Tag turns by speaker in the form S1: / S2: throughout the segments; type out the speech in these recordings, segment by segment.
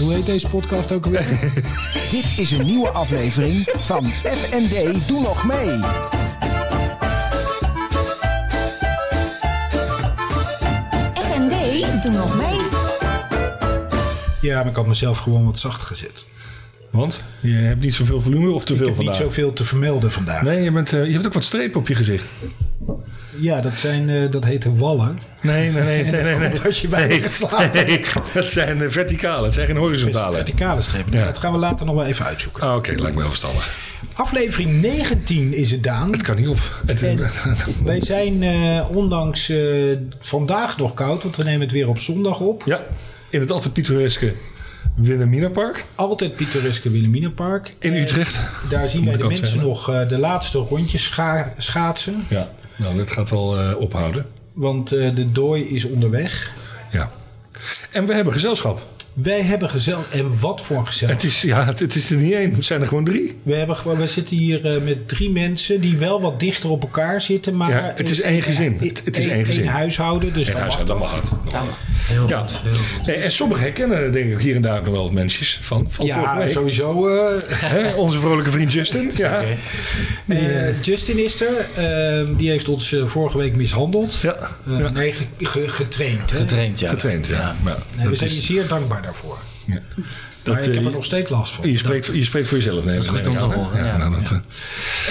S1: Hoe heet deze podcast ook alweer?
S2: Dit is een nieuwe aflevering van FND Doe Nog Mee.
S3: FND, doe nog mee.
S1: ja, maar ik had mezelf gewoon wat zacht gezet.
S4: Want? Je hebt niet zoveel volume of te
S1: Ik
S4: veel
S1: heb niet
S4: vandaag?
S1: zoveel te vermelden vandaag.
S4: Nee, je, bent, eh, je hebt ook wat strepen op je gezicht.
S1: Ja, dat, zijn, eh, dat heet de wallen.
S4: Nee, nee, nee. nee, nee,
S1: komt als je bij hebt geslapen.
S4: Dat zijn eh, verticale, het zijn geen horizontale.
S1: Verticale strepen.
S4: Ja.
S1: Dat gaan we later nog wel even uitzoeken.
S4: Ah, Oké, lijkt me wel verstandig.
S1: Aflevering 19 is het, Daan.
S4: Het kan niet op. Het,
S1: En wij zijn eh, ondanks eh, vandaag nog koud, want we nemen het weer op zondag op.
S4: ja, in het altijd pittoreske Wilhelminapark
S1: Altijd Pieteriske Wilhelminapark.
S4: in
S1: Eh,
S4: Utrecht.
S1: Daar zien
S4: Moet
S1: wij
S4: ik
S1: de
S4: dat
S1: mensen
S4: zeggen?
S1: nog eh, de laatste rondjes scha- schaatsen.
S4: Ja, nou, dit gaat wel eh, ophouden.
S1: Want eh, de dooi is onderweg.
S4: Ja. En we hebben gezelschap.
S1: Wij hebben gezellig. En wat voor gezellig.
S4: Het is, ja, het, het is er niet één, het zijn er gewoon drie.
S1: We, hebben, gewoon- we zitten hier eh, met drie mensen die wel wat dichter op elkaar zitten. Maar
S4: Ja, het is één gezin.
S1: Eh,
S4: Het- het is
S1: één-
S4: één gezin.
S1: één huishouden. Dus
S4: En
S1: dan
S4: hij
S1: mag
S4: zei, dat mag het. Ja. Nee, en sommigen herkennen er denk ik hier en daar nog wel wat mensjes van. van vorige
S1: Ja,
S4: week.
S1: sowieso. eh,
S4: Hè, onze vrolijke vriend Justin. Ja.
S1: eh, Justin is er. eh, die heeft ons eh, vorige week mishandeld.
S4: Ja.
S1: Eh,
S4: Ja.
S1: nee, ge- ge- getraind. hè?
S5: Getraind, ja.
S4: Getraind, ja. Maar
S1: Nee, we
S4: dat
S1: zijn je
S4: is,
S1: zeer dankbaar daarvoor.
S4: ja.
S1: Maar
S4: dat,
S1: ik heb
S4: eh,
S1: er nog steeds last van.
S4: je, spreekt, je spreekt voor jezelf. Nee,
S5: Dat is goed
S4: neem ik
S5: om te
S4: aan, hè?
S5: horen, ja.
S4: nou, dat,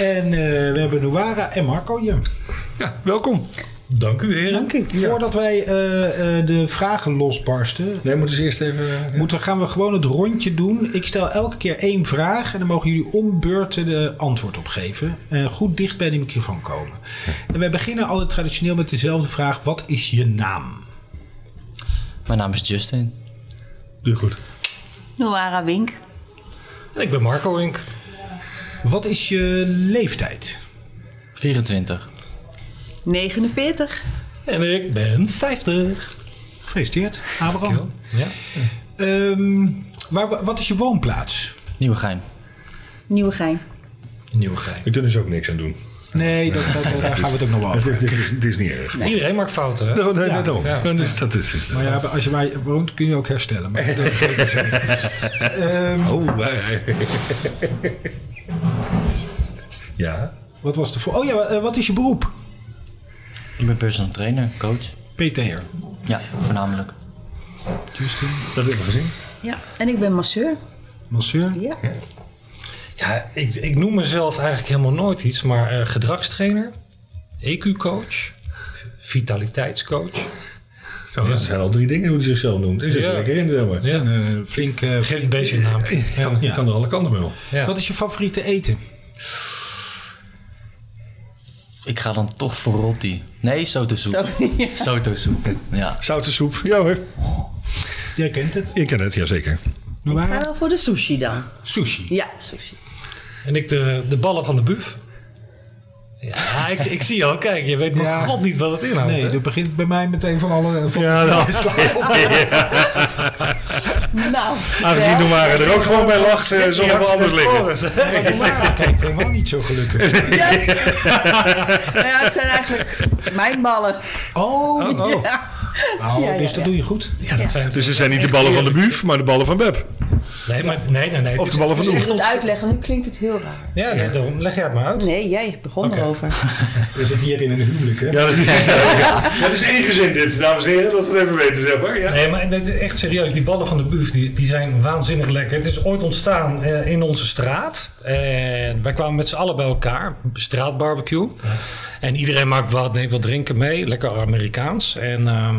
S4: eh,
S1: En eh, we hebben Nuara en Marco hier.
S4: ja, welkom. Dank u, heren.
S1: Voordat wij eh, eh, de vragen losbarsten,
S4: Wij moeten ze eerst even... eh,
S1: moeten, gaan we gewoon het rondje doen. Ik stel elke keer één vraag en dan mogen jullie om beurten de antwoord op geven. Eh, goed dicht bij de microfoon komen. En wij beginnen altijd traditioneel met dezelfde vraag. Wat is je naam?
S5: Mijn naam is Justin.
S4: Doe goed.
S6: Noara Wink.
S7: Ik ben Marco Wink.
S1: Wat is je leeftijd?
S5: 24.
S6: 49.
S7: En ik ben 50.
S1: Gefeliciteerd, Abraham.
S7: Ja.
S1: Ehm, waar, wat is je woonplaats?
S5: Nieuwegein.
S6: Nieuwegein.
S7: Nieuwegein.
S4: We kunnen ze ook niks aan doen.
S1: Nee, dat, dat- daar gaan we het ook nog wel
S4: Het
S1: over.
S4: is, het is, het is niet erg. Nou,
S7: Iedereen maakt fouten, hè?
S4: Nee, nee, net om.
S7: Ja.
S4: Dat is- dat is, is-
S1: Maar ja, als je bij woont kun je ook herstellen. Maar dat wil ik zeker zeggen. Ehm,
S4: Oh, wij. ja.
S1: wat was de voor? Oh ja, eh, wat is je beroep?
S5: Ik ben personal trainer, coach.
S1: PT'er.
S5: Ja, voornamelijk.
S1: Justin.
S4: Dat hebben we gezien.
S6: Ja. En ik ben masseur.
S1: Masseur.
S6: Ja.
S7: Ja, ik, ik noem mezelf eigenlijk helemaal nooit iets, maar eh, gedragstrainer, EQ-coach, vitaliteitscoach.
S4: Zo, dat zijn al drie dingen hoe hij zichzelf noemt. Is het
S7: Ja.
S4: lekker in, zeg maar.
S7: Ja.
S1: En, eh, flink. eh,
S7: Geef het beestje een naam.
S4: Kan,
S1: Ja.
S4: kan er alle kanten mee op.
S7: Ja.
S1: Wat is je favoriete eten?
S5: Ik ga dan toch voor rotti. Nee, sotosoep. Sotosoep. Ja.
S4: Zoute soep. Ja hoor.
S1: Jij kent het.
S4: Ik ken het, jazeker.
S6: Ga
S1: Noara?
S6: wel voor de sushi dan.
S1: Sushi.
S6: Ja, sushi.
S7: En ik de, de ballen van de buf. Ja, ik, ik zie al. Kijk, je weet nog
S1: Ja.
S7: god niet wat het inhoudt.
S1: Nee,
S7: hè?
S1: dat begint bij mij meteen van alle. Van
S4: Ja, nou,
S6: Nou,
S4: aangezien de waren er ook gewoon bij lag, eh, zal het wel anders liggen.
S7: liggen.
S1: Noara kijkt helemaal niet zo gelukkig.
S6: nou ja, het zijn eigenlijk mijn ballen.
S1: Oh,
S4: Oh.
S6: Ja.
S1: Nou,
S6: Ja, ja,
S1: dus dat
S6: ja.
S1: doe je goed.
S7: Ja, dat zijn
S4: Dus het zijn niet de ballen van de buuf, maar de ballen van Beb.
S7: Nee, maar, nee, nee, nee.
S4: Of de ballen van de
S6: Ik moet uitleggen, nu klinkt het heel raar.
S7: Ja, nee, daarom leg jij het maar uit.
S6: Nee, jij begon
S7: Oké.
S6: erover.
S1: We zitten hier in een huwelijk, hè?
S4: Ja, dat is, ja, dat is één gezin dit, dames en heren. Dat we het even weten, zeg maar. Ja.
S7: Nee, maar dit is echt serieus. Die ballen van de buf die, die zijn waanzinnig lekker. Het is ooit ontstaan eh, in onze straat. En wij kwamen met z'n allen bij elkaar. Straatbarbecue. En iedereen maakt wat, neemt wat drinken mee. Lekker Amerikaans. En ehm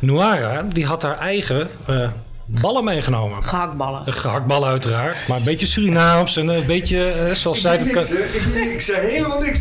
S7: Noara, die had haar eigen eh, ballen meegenomen.
S6: Gehaktballen.
S7: Gehaktballen uiteraard, maar een beetje Surinaams en een beetje eh, zoals zij het kan...
S4: Ik zei helemaal niks.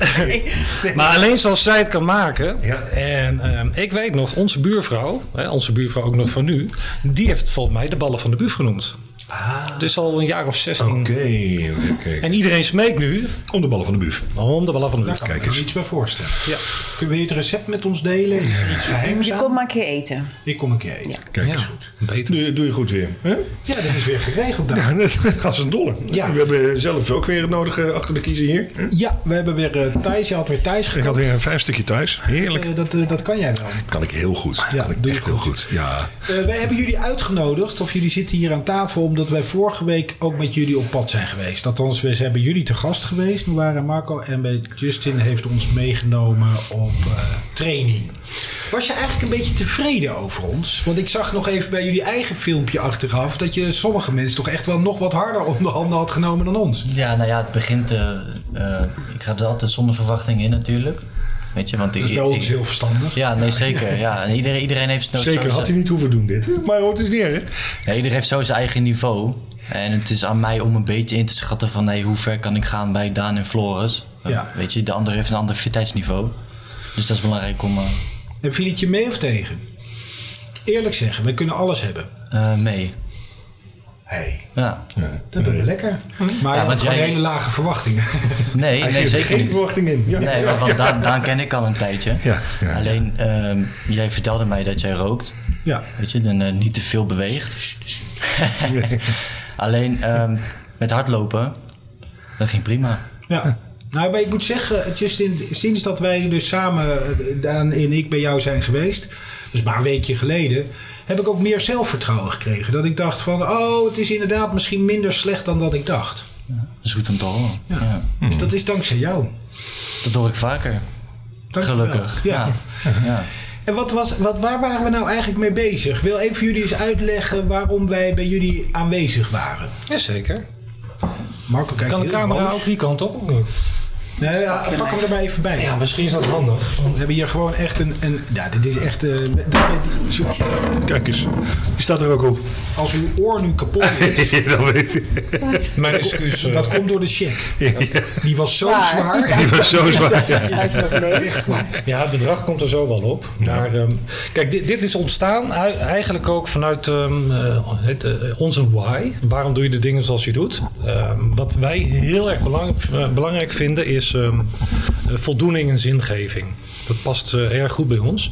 S7: Maar alleen zoals zij het kan maken.
S4: Ja.
S7: En ehm, ik weet nog, onze buurvrouw, hè, onze buurvrouw ook nog van nu... die heeft volgens mij de ballen van de buf genoemd.
S1: Ah,
S7: Het is al een jaar of 16.
S1: Hm.
S8: Oké, oké, oké.
S7: En iedereen smeekt nu
S8: Om de ballen van de buurt.
S7: om de ballen van de
S1: Daar
S7: buurt.
S1: kan ik
S8: Kijk
S1: me
S8: eens.
S1: iets bij voorstellen.
S7: Ja.
S1: Kun je het recept met ons delen? Is er iets geheims
S6: Je
S1: aan?
S6: komt maar een keer eten.
S1: Ik kom een keer eten.
S8: Kijk
S7: Ja.
S8: eens goed.
S7: Beter.
S8: Doe, je- doe je goed weer. hè?
S1: Ja, dat is weer geregeld daar.
S8: Ja, net als een dolle.
S1: Ja.
S8: We hebben zelf ook weer het nodige achter de kiezen hier.
S1: Ja, we hebben weer eh Thijs. Je had weer Thijs
S8: Ik had
S1: gekookt.
S8: weer een vijf stukje thuis. Heerlijk.
S1: Eh, dat, eh, dat kan jij wel.
S8: Kan ik heel goed.
S1: Ja,
S8: kan ik
S1: doe je
S8: echt heel
S1: goed.
S8: goed. Ja.
S1: Eh, wij hebben jullie uitgenodigd, of jullie zitten hier aan tafel, omdat wij vorige week ook met jullie op pad zijn geweest. Althans, we hebben jullie te gast geweest. We waren Marco en bij Justin heeft ons meegenomen op eh, training. Was je eigenlijk een beetje tevreden over ons? Want ik zag nog even bij jullie eigen filmpje achteraf dat je sommige mensen toch echt wel nog wat harder onder handen had genomen dan ons.
S5: Ja, nou ja, het begint. eh, eh, ik ga er altijd zonder verwachting in natuurlijk. Weet je, want ik.
S1: Dat is bij ons
S5: ik-
S1: heel verstandig.
S5: ja, nee, zeker. Ja. En iedereen, iedereen heeft zo-
S8: Zeker
S5: zo-
S8: had hij niet hoeven doen dit. Maar hoort is niet erg.
S5: Ja, iedereen heeft zo zijn eigen niveau. En het is aan mij om een beetje in te schatten van hey, hoe ver kan ik gaan bij Daan en Floris. Eh,
S1: Ja.
S5: Weet je, de ander heeft een ander fitheidskniveau. Dus dat is belangrijk om eh,
S1: En viel het je mee of tegen? Eerlijk zeggen, we kunnen alles hebben.
S5: eh, mee.
S1: Hey.
S5: Ja.
S1: Dat doen we lekker. Maar je
S5: want
S1: had gewoon
S5: jij-
S1: hele lage verwachtingen.
S5: Nee,
S8: Hij
S5: nee,
S8: geeft
S5: zeker
S8: geen
S5: niet.
S8: verwachting in. Ja.
S5: Nee, want, want Daan, Daan ken ik al een tijdje.
S8: Ja, ja.
S5: Alleen, ehm, jij vertelde mij dat jij rookt.
S1: ja.
S5: Weet je, dan eh, niet te veel beweegt. Alleen ehm, met hardlopen, dat ging prima.
S1: Ja. Nou, maar ik moet zeggen, Justin, sinds dat wij dus samen, eh, Daan en ik, bij jou zijn geweest, dus maar een weekje geleden, heb ik ook meer zelfvertrouwen gekregen. Dat ik dacht van, oh, het is inderdaad misschien minder slecht dan dat ik dacht.
S5: Dat is goed om te horen. Ja.
S1: Dus
S7: Hmm.
S1: dat is dankzij jou.
S5: Dat hoor ik vaker,
S1: Dankjewel.
S5: gelukkig. Ja.
S1: ja.
S5: Ja.
S1: En wat was, wat, waar waren we nou eigenlijk mee bezig? Ik wil even jullie eens uitleggen waarom wij bij jullie aanwezig waren.
S7: Jazeker.
S1: Marco, kijk
S7: Kan de camera ook die kant op? of niet?
S1: Nee, ja, pak hem er maar even bij.
S7: Ja, misschien is dat handig.
S1: We hebben hier gewoon echt een... een ja, dit is echt... eh,
S8: Kijk eens. Die staat er ook op.
S1: als uw oor nu kapot is...
S8: dat weet ik.
S7: Mijn excuus. eh.
S1: Dat komt door de check. Die was zo
S6: Zwaar.
S1: zwaar.
S8: Die was zo zwaar. Ja.
S6: Lijkt me ook leeg.
S7: Ja, het bedrag komt er zo wel op. Maar ehm, kijk, dit, dit is ontstaan ui- eigenlijk ook vanuit ehm, eh, het, eh, onze why. Waarom doe je de dingen zoals je doet? Ehm, wat wij heel erg belang- eh, belangrijk vinden is ehm, eh, voldoening en zingeving. Dat past eh, erg goed bij ons.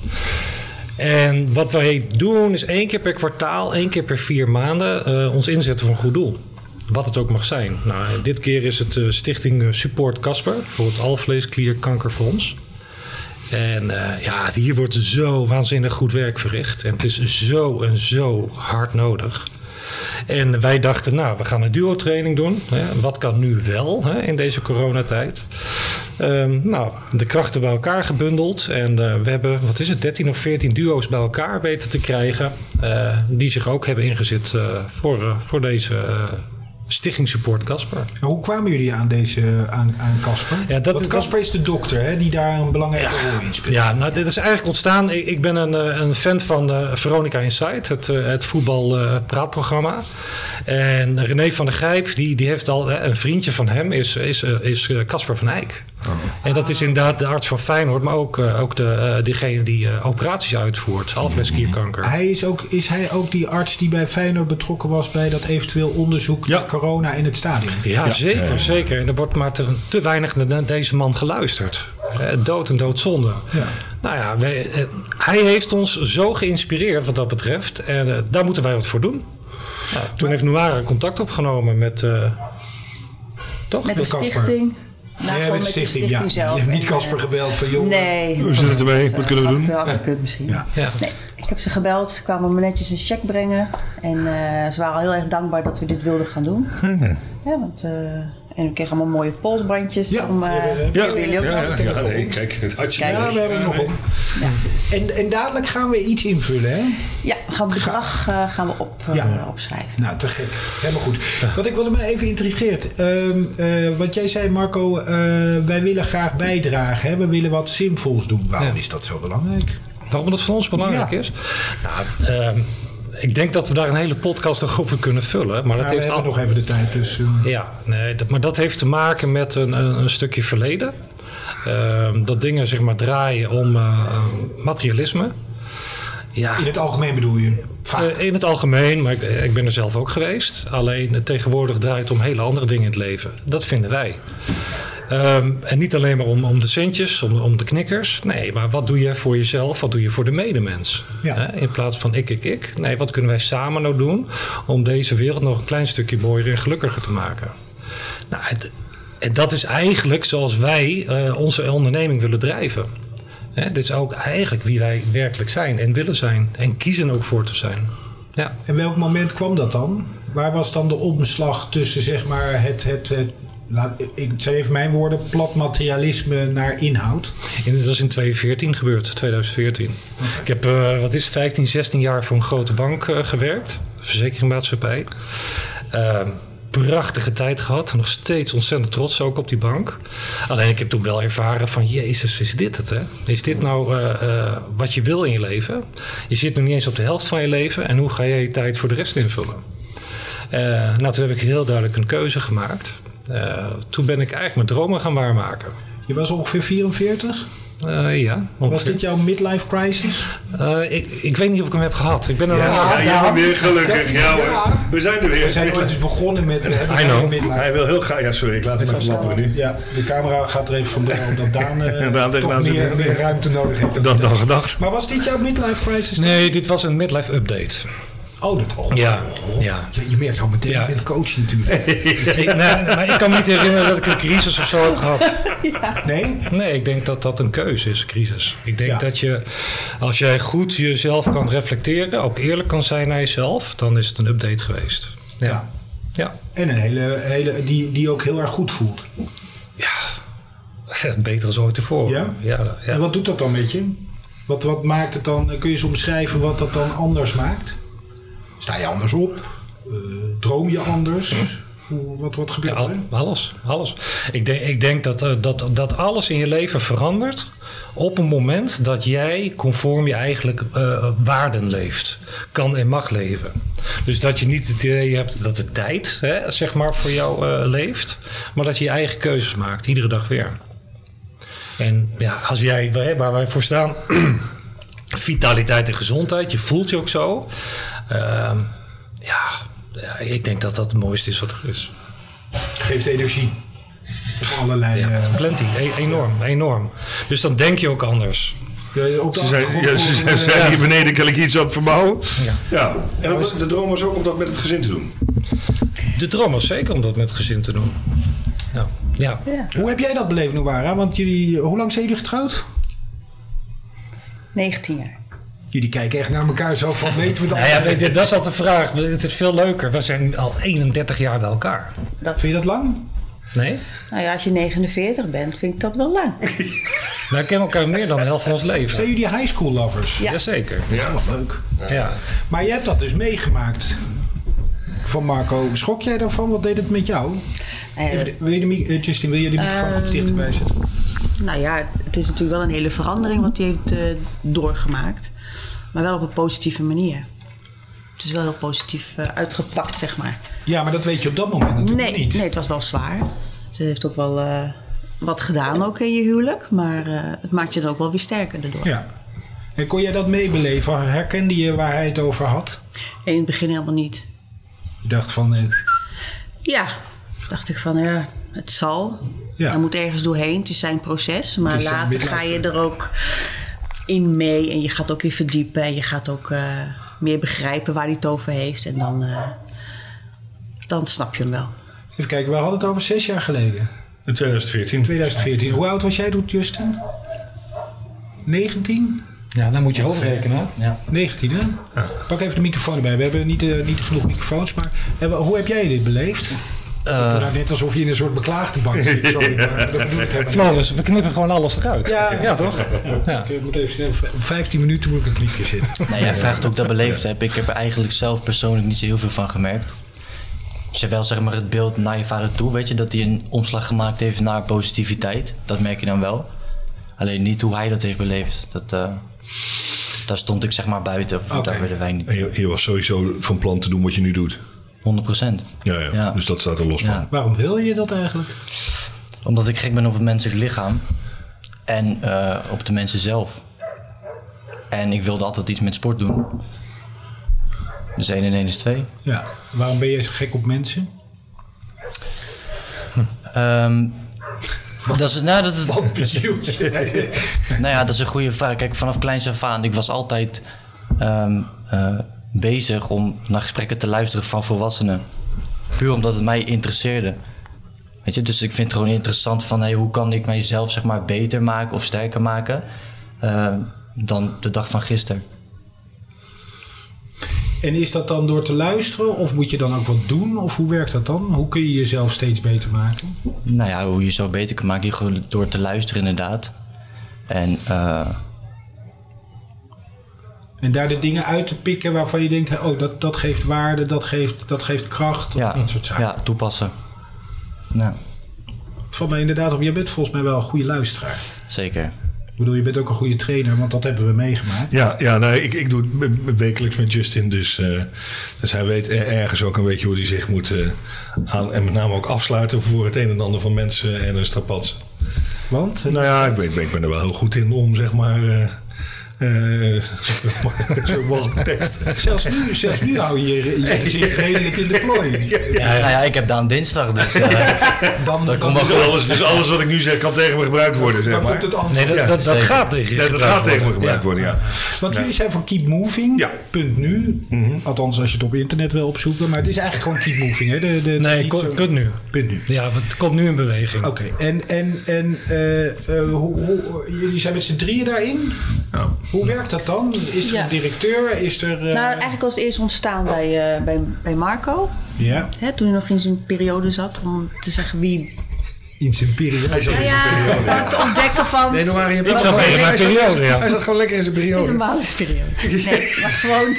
S7: En wat wij doen is één keer per kwartaal, één keer per vier maanden eh, ons inzetten voor een goed doel. Wat het ook mag zijn. Nou, dit keer is het eh, Stichting eh, Support Casper voor het Alvleesklierkankerfonds. En eh, ja, hier wordt zo waanzinnig goed werk verricht. En het is zo en zo hard nodig. En wij dachten, nou, we gaan een duo-training doen. Hè. Wat kan nu wel hè, in deze coronatijd? Ehm, nou, de krachten bij elkaar gebundeld. En eh, we hebben, wat is het, 13 of 14 duo's bij elkaar weten te krijgen. eh, die zich ook hebben ingezet eh, voor, eh, voor deze eh, Stichting Support Casper.
S1: Maar Hoe kwamen jullie aan deze aan, aan Casper?
S7: Ja, dat-
S1: Want Casper is de dokter hè, die daar een belangrijke rol in speelt.
S7: Ja, nou, dit is eigenlijk ontstaan. Ik, ik ben een, eh, een fan van eh, Veronica Insight, het, eh, het voetbalpraatprogramma. en René van der Grijp, die, die heeft al eh, een vriendje van hem, is Casper is, eh, is, eh, Casper van Eyck. En dat is inderdaad de arts van Feyenoord, maar ook, eh, ook de, eh, degene die eh, operaties uitvoert, alvleesklierkanker.
S1: Hij is, ook, is hij ook die arts die bij Feyenoord betrokken was bij dat eventueel onderzoek
S7: Ja.
S1: naar corona in het stadion?
S6: Nou,
S7: Ja, zeker, zeker. En er wordt maar te, te weinig naar deze man geluisterd. Eh, dood en doodzonde. Nou ja, wij, eh, hij heeft ons zo geïnspireerd wat dat betreft. En eh, daar moeten wij wat voor doen. Ja, toen heeft Noara contact opgenomen met... eh, toch?
S6: Met de
S1: Casper.
S6: stichting.
S1: Ja,
S6: Nou,
S1: met
S6: gewoon
S1: de stichting, ja.
S6: zelf.
S1: Je hebt niet
S6: En,
S1: Casper
S6: eh,
S1: gebeld van, joh,
S6: Nee.
S8: Hoe zit het ermee? Wat kunnen we doen?
S6: Wel gekund misschien.
S1: Ja.
S7: Ja.
S6: Nee, ik heb ze gebeld. Ze kwamen me netjes een cheque brengen. En eh, ze waren al heel erg dankbaar dat we dit wilden gaan doen.
S1: Mhm.
S6: Ja, want... eh, en we kregen allemaal mooie polsbandjes.
S1: Ja.
S6: om, eh, hebben jullie ook nog?
S8: ja, ja, nee, kijk, het had je
S6: Kijk.
S1: Ja, we hebben hem nog op. En, en dadelijk gaan we iets invullen, hè?
S6: Ja, we gaan het bedrag eh, gaan we op, eh,
S1: Ja.
S6: opschrijven.
S1: Nou, te gek. Helemaal goed. Wat ik wat me even intrigeert. ehm, eh, wat jij zei, Marco, eh, wij willen graag bijdragen. Hè? We willen wat zinvols doen. Waarom
S7: Ja.
S1: is dat zo belangrijk?
S7: Waarom dat voor ons belangrijk
S1: Ja.
S7: is? Nou, ehm, ik denk dat we daar een hele podcast nog over kunnen vullen. Maar dat
S1: Maar Nou, we
S7: heeft
S1: hebben
S7: al,
S1: nog even de tijd, dus... eh,
S7: Ja, nee, dat, maar dat heeft te maken met een, een, een stukje verleden. Ehm, dat dingen zeg maar draaien om eh, materialisme. Ja.
S1: In het algemeen bedoel je? Vaak.
S7: Eh, in het algemeen, maar ik, ik ben er zelf ook geweest. Alleen het tegenwoordig draait om hele andere dingen in het leven. Dat vinden wij. Ehm, en niet alleen maar om, om de centjes, om, om de knikkers. Nee, maar wat doe je voor jezelf? Wat doe je voor de medemens?
S1: Ja.
S7: Hè, in plaats van ik, ik, ik. Nee, wat kunnen wij samen nou doen om deze wereld nog een klein stukje mooier en gelukkiger te maken? Nou, het, en dat is eigenlijk zoals wij eh, onze onderneming willen drijven. Hè, dit is ook eigenlijk wie wij werkelijk zijn en willen zijn. En kiezen ook voor te zijn. Ja.
S1: En welk moment kwam dat dan? Waar was dan de omslag tussen zeg maar het, het, het laat, ik het zijn even mijn woorden, plat materialisme naar inhoud?
S7: En dat is in 2014 gebeurd, 2014. Ik heb, eh, wat is het, 15, 16 jaar voor een grote bank eh, gewerkt. Verzekeringmaatschappij. Ehm, prachtige tijd gehad. Nog steeds ontzettend trots ook op die bank. Alleen ik heb toen wel ervaren van... Jezus, is dit het hè? Is dit nou eh, eh, wat je wil in je leven? Je zit nog niet eens op de helft van je leven. En hoe ga jij je tijd voor de rest invullen? Eh, nou, toen heb ik heel duidelijk een keuze gemaakt. Eh, toen ben ik eigenlijk mijn dromen gaan waarmaken.
S1: Je was ongeveer 44.
S7: Eh, ja,
S1: Was
S7: ongeveer.
S1: dit jouw midlife crisis?
S7: Eh, ik, ik weet niet of ik hem heb gehad. Ik ben er wel-
S4: Ja, ja, weer gelukkig. Ja hoor, we zijn er weer.
S1: We zijn ooit dus begonnen met we hebben
S7: I know.
S1: een midlife.
S4: Hij wil heel graag... Ja, sorry, ik laat hem even lapperen nu.
S1: Ja, de camera gaat er even vandoor omdat Daan eh,
S4: Daan tegenaan
S1: toch
S4: zit.
S1: meer, meer ruimte nodig heeft.
S4: Dat dan gedacht.
S1: Maar was dit jouw midlife crisis?
S7: Nee, dit was een midlife update.
S1: Oh, dat al.
S7: Ja, ja.
S1: Je, je merkt al meteen,
S7: Ja.
S1: je bent coach natuurlijk.
S7: Ik, nou, maar ik kan me niet herinneren dat ik een crisis of zo heb gehad.
S1: Nee?
S7: Nee, ik denk dat dat een keuze is, crisis. Ik denk
S1: Ja.
S7: dat je, als jij goed jezelf kan reflecteren, ook eerlijk kan zijn naar jezelf, dan is het een update geweest.
S1: Ja.
S7: Ja. Ja.
S1: En een hele, hele die, die ook heel erg goed voelt.
S7: ja. Beter dan ooit tevoren.
S1: Ja?
S7: Ja, ja.
S1: En wat doet dat dan met je? Wat, wat maakt het dan? Kun je eens omschrijven wat dat dan anders maakt? Sta je anders op? Eh, droom je anders? Hoe- Wat, wat gebeurt
S7: Al-
S1: er?
S7: alles, alles. Ik denk, ik denk dat, eh, dat, dat alles in je leven verandert op een moment dat jij conform je eigenlijk eh, waarden leeft. Kan en mag leven. Dus dat je niet het idee hebt dat de tijd hè, zeg maar voor jou eh, leeft. Maar dat je je eigen keuzes maakt, iedere dag weer. En ja, als jij, hè, waar wij voor staan, vitaliteit en gezondheid, je voelt je ook zo. Ehm, ja, ja, ik denk dat dat het mooiste is wat er is.
S1: Geeft energie. Op allerlei. eh,
S7: Plenty, e- enorm, enorm. Dus dan denk je ook anders.
S1: eh, op de
S4: Ze zijn,
S1: achtergrond
S4: ja, ze
S1: hoort
S4: zijn,
S1: een,
S4: ze
S1: eh,
S4: zijn hier beneden, kan ik iets aan het verbouwen? Ja. En dat was- de droom was ook om dat met het gezin te doen.
S7: De droom was zeker om dat met het gezin te doen. Ja, ja.
S1: Hoe heb jij dat beleefd, Noara? Want jullie, hoe lang zijn jullie getrouwd?
S6: 19 jaar.
S1: Jullie kijken echt naar elkaar zo van weten we dat.
S7: Nou ja, weet je, dat is altijd de vraag. Het is veel leuker. We zijn al 31 jaar bij elkaar.
S1: Vind je dat lang?
S7: Nee?
S6: Nou ja, als je 49 bent, vind ik dat wel lang.
S7: Wij kennen elkaar meer dan de helft van ons leven.
S1: Zijn jullie high school lovers?
S6: Ja.
S7: Jazeker.
S1: Ja, wat leuk.
S7: Ja.
S1: Maar je hebt dat dus meegemaakt. Van Marco, schrok jij daarvan? Wat deed het met jou?
S6: Nou ja,
S1: Even de- wil je de mi- eh, Justin, wil je de microfoon iets dichterbij zetten?
S6: Nou ja, het is natuurlijk wel een hele verandering wat hij heeft eh, doorgemaakt. Maar wel op een positieve manier. Het is wel heel positief eh, uitgepakt, zeg maar.
S1: Ja, maar dat weet je op dat moment natuurlijk
S6: Nee,
S1: niet.
S6: nee, het was wel zwaar. Het heeft ook wel eh, wat gedaan ook in je huwelijk. Maar eh, het maakt je er ook wel weer sterker daardoor.
S1: Ja. En kon jij dat meebeleven? Herkende je waar hij het over had?
S6: In het begin helemaal niet.
S1: Je dacht van, eh,
S6: Ja, dacht ik van ja, het zal.
S1: Ja.
S6: Hij moet ergens doorheen. Het is zijn proces. Maar
S1: Het is zijn
S6: later
S1: midlife
S6: ga je er ook in mee. En je gaat ook weer verdiepen. En je gaat ook eh, meer begrijpen waar hij het over heeft. En dan, eh, dan snap je hem wel.
S1: even kijken, we hadden het over zes jaar geleden.
S4: In 2014.
S1: 2014. Hoe oud was jij toen, Justin? 19?
S7: ja, dan moet je hoofdrekenen.
S1: 19, hè? Pak even de microfoon erbij. We hebben niet, eh, niet genoeg microfoons, maar eh, hoe heb jij dit beleefd? nou, net alsof je in een soort beklaagde bank zit. Sorry, maar dat bedoel ik helemaal niet.
S7: Floris, we knippen gewoon alles eruit.
S1: Ja.
S7: toch? Ja.
S1: Ik eh, moet even snel, op 15 minuten moet ik een clipje zitten.
S5: Nou, jij vraagt ook dat beleefd heb. Ik heb er eigenlijk zelf persoonlijk niet zo heel veel van gemerkt. Zowel zeg maar het beeld naar je vader toe, weet je, dat hij een omslag gemaakt heeft naar positiviteit. Dat merk je dan wel. Alleen niet hoe hij dat heeft beleefd. Dat, eh, daar stond ik zeg maar buiten. Of
S1: Oké.
S5: daar werden wij niet.
S4: En je, je was sowieso van plan te doen wat je nu doet.
S5: 100 procent.
S4: Ja, ja.
S5: Ja.
S4: Dus dat staat er los van.
S5: Ja.
S1: Waarom wil je dat eigenlijk?
S5: Omdat ik gek ben op het menselijk lichaam. En eh, op de mensen zelf. En ik wilde altijd iets met sport doen. Dus 1 en 1 is 2.
S1: Ja. Waarom ben je zo gek op mensen?
S5: Ehm, dat is, nou, dat is,
S8: Wat bezield je?
S5: nou ja, dat is een goede vraag. Kijk, vanaf kleins af aan, ik was altijd ehm, eh, bezig om naar gesprekken te luisteren van volwassenen. Puur omdat het mij interesseerde. Weet je, dus ik vind het gewoon interessant van hey, hoe kan ik mijzelf zeg maar, beter maken of sterker maken ehm, dan de dag van gisteren.
S1: En is dat dan door te luisteren of moet je dan ook wat doen? Of hoe werkt dat dan? Hoe kun je jezelf steeds beter maken?
S5: Nou ja, hoe je zo beter kan maken, je gewoon door te luisteren inderdaad. En eh,
S1: En daar de dingen uit te pikken waarvan je denkt, oh, dat, dat geeft waarde, dat geeft, dat geeft kracht,
S5: ja,
S1: dat soort zaken.
S5: ja, toepassen. Nou,
S1: Het valt mij inderdaad op, jij bent volgens mij wel een goede luisteraar.
S5: zeker.
S1: Ik bedoel, je bent ook een goede trainer, want dat hebben we meegemaakt.
S4: Ja, ja nou, ik, ik doe het me- me- wekelijks met Justin. Dus, eh, dus hij weet er- ergens ook een beetje hoe hij zich moet eh, aan. En met name ook afsluiten voor het een en ander van mensen en een strapats.
S1: Want, eh,
S4: Nou ja, ik ben, ik ben- ik ben er wel heel goed in om, zeg maar. eh, eh, zo mogelijk tekst.
S1: zelfs, nu, zelfs nu hou je je je gezicht redelijk in de plooi.
S5: Nou ja, ik heb dan dinsdag, dus eh,
S1: Dan,
S5: dat
S1: dan,
S5: komt wel
S4: Dus
S5: goed.
S4: alles, dus alles wat ik nu zeg kan tegen me gebruikt worden, zeg
S1: dan
S4: maar.
S1: komt het antwoord.
S7: Nee, dat,
S4: Ja,
S7: dat, dat
S5: zeker.
S7: gaat tegen je
S4: Ja, dat
S7: gebruikt
S4: gaat tegen me
S7: worden.
S4: gebruikt worden, ja.
S1: Want jullie zijn van Keep Moving,
S4: Ja.
S1: punt nu. Althans, als je het op internet wil opzoeken. Maar het is eigenlijk gewoon Keep Moving. Hè? De, de,
S7: Ja. Nee,
S1: niet zo-
S7: ko- kunt nu.
S1: punt nu.
S7: Ja, want het komt nu in beweging.
S1: Oké, en, en, en eh, eh, hoe, hoe- jullie zijn met z'n drieën daarin?
S4: Ja.
S1: Hoe werkt dat dan? Is er
S6: Ja.
S1: een directeur? Is er... eh,
S6: Nou, eh- eigenlijk was het eerst ontstaan bij, eh, bij, bij Marco.
S1: Ja,
S6: Hè, toen hij nog in zijn periode zat om te zeggen wie...
S1: in zijn periode.
S6: Nou ja, om te ontdekken van...
S4: Nee, doe maar, je
S6: zat
S4: Hij
S6: even in
S7: mijn
S4: zat-
S7: periode, ja.
S4: Hij zat gewoon lekker in zijn
S6: Het is een
S4: periode.
S6: balisperiode. Nee, maar gewoon...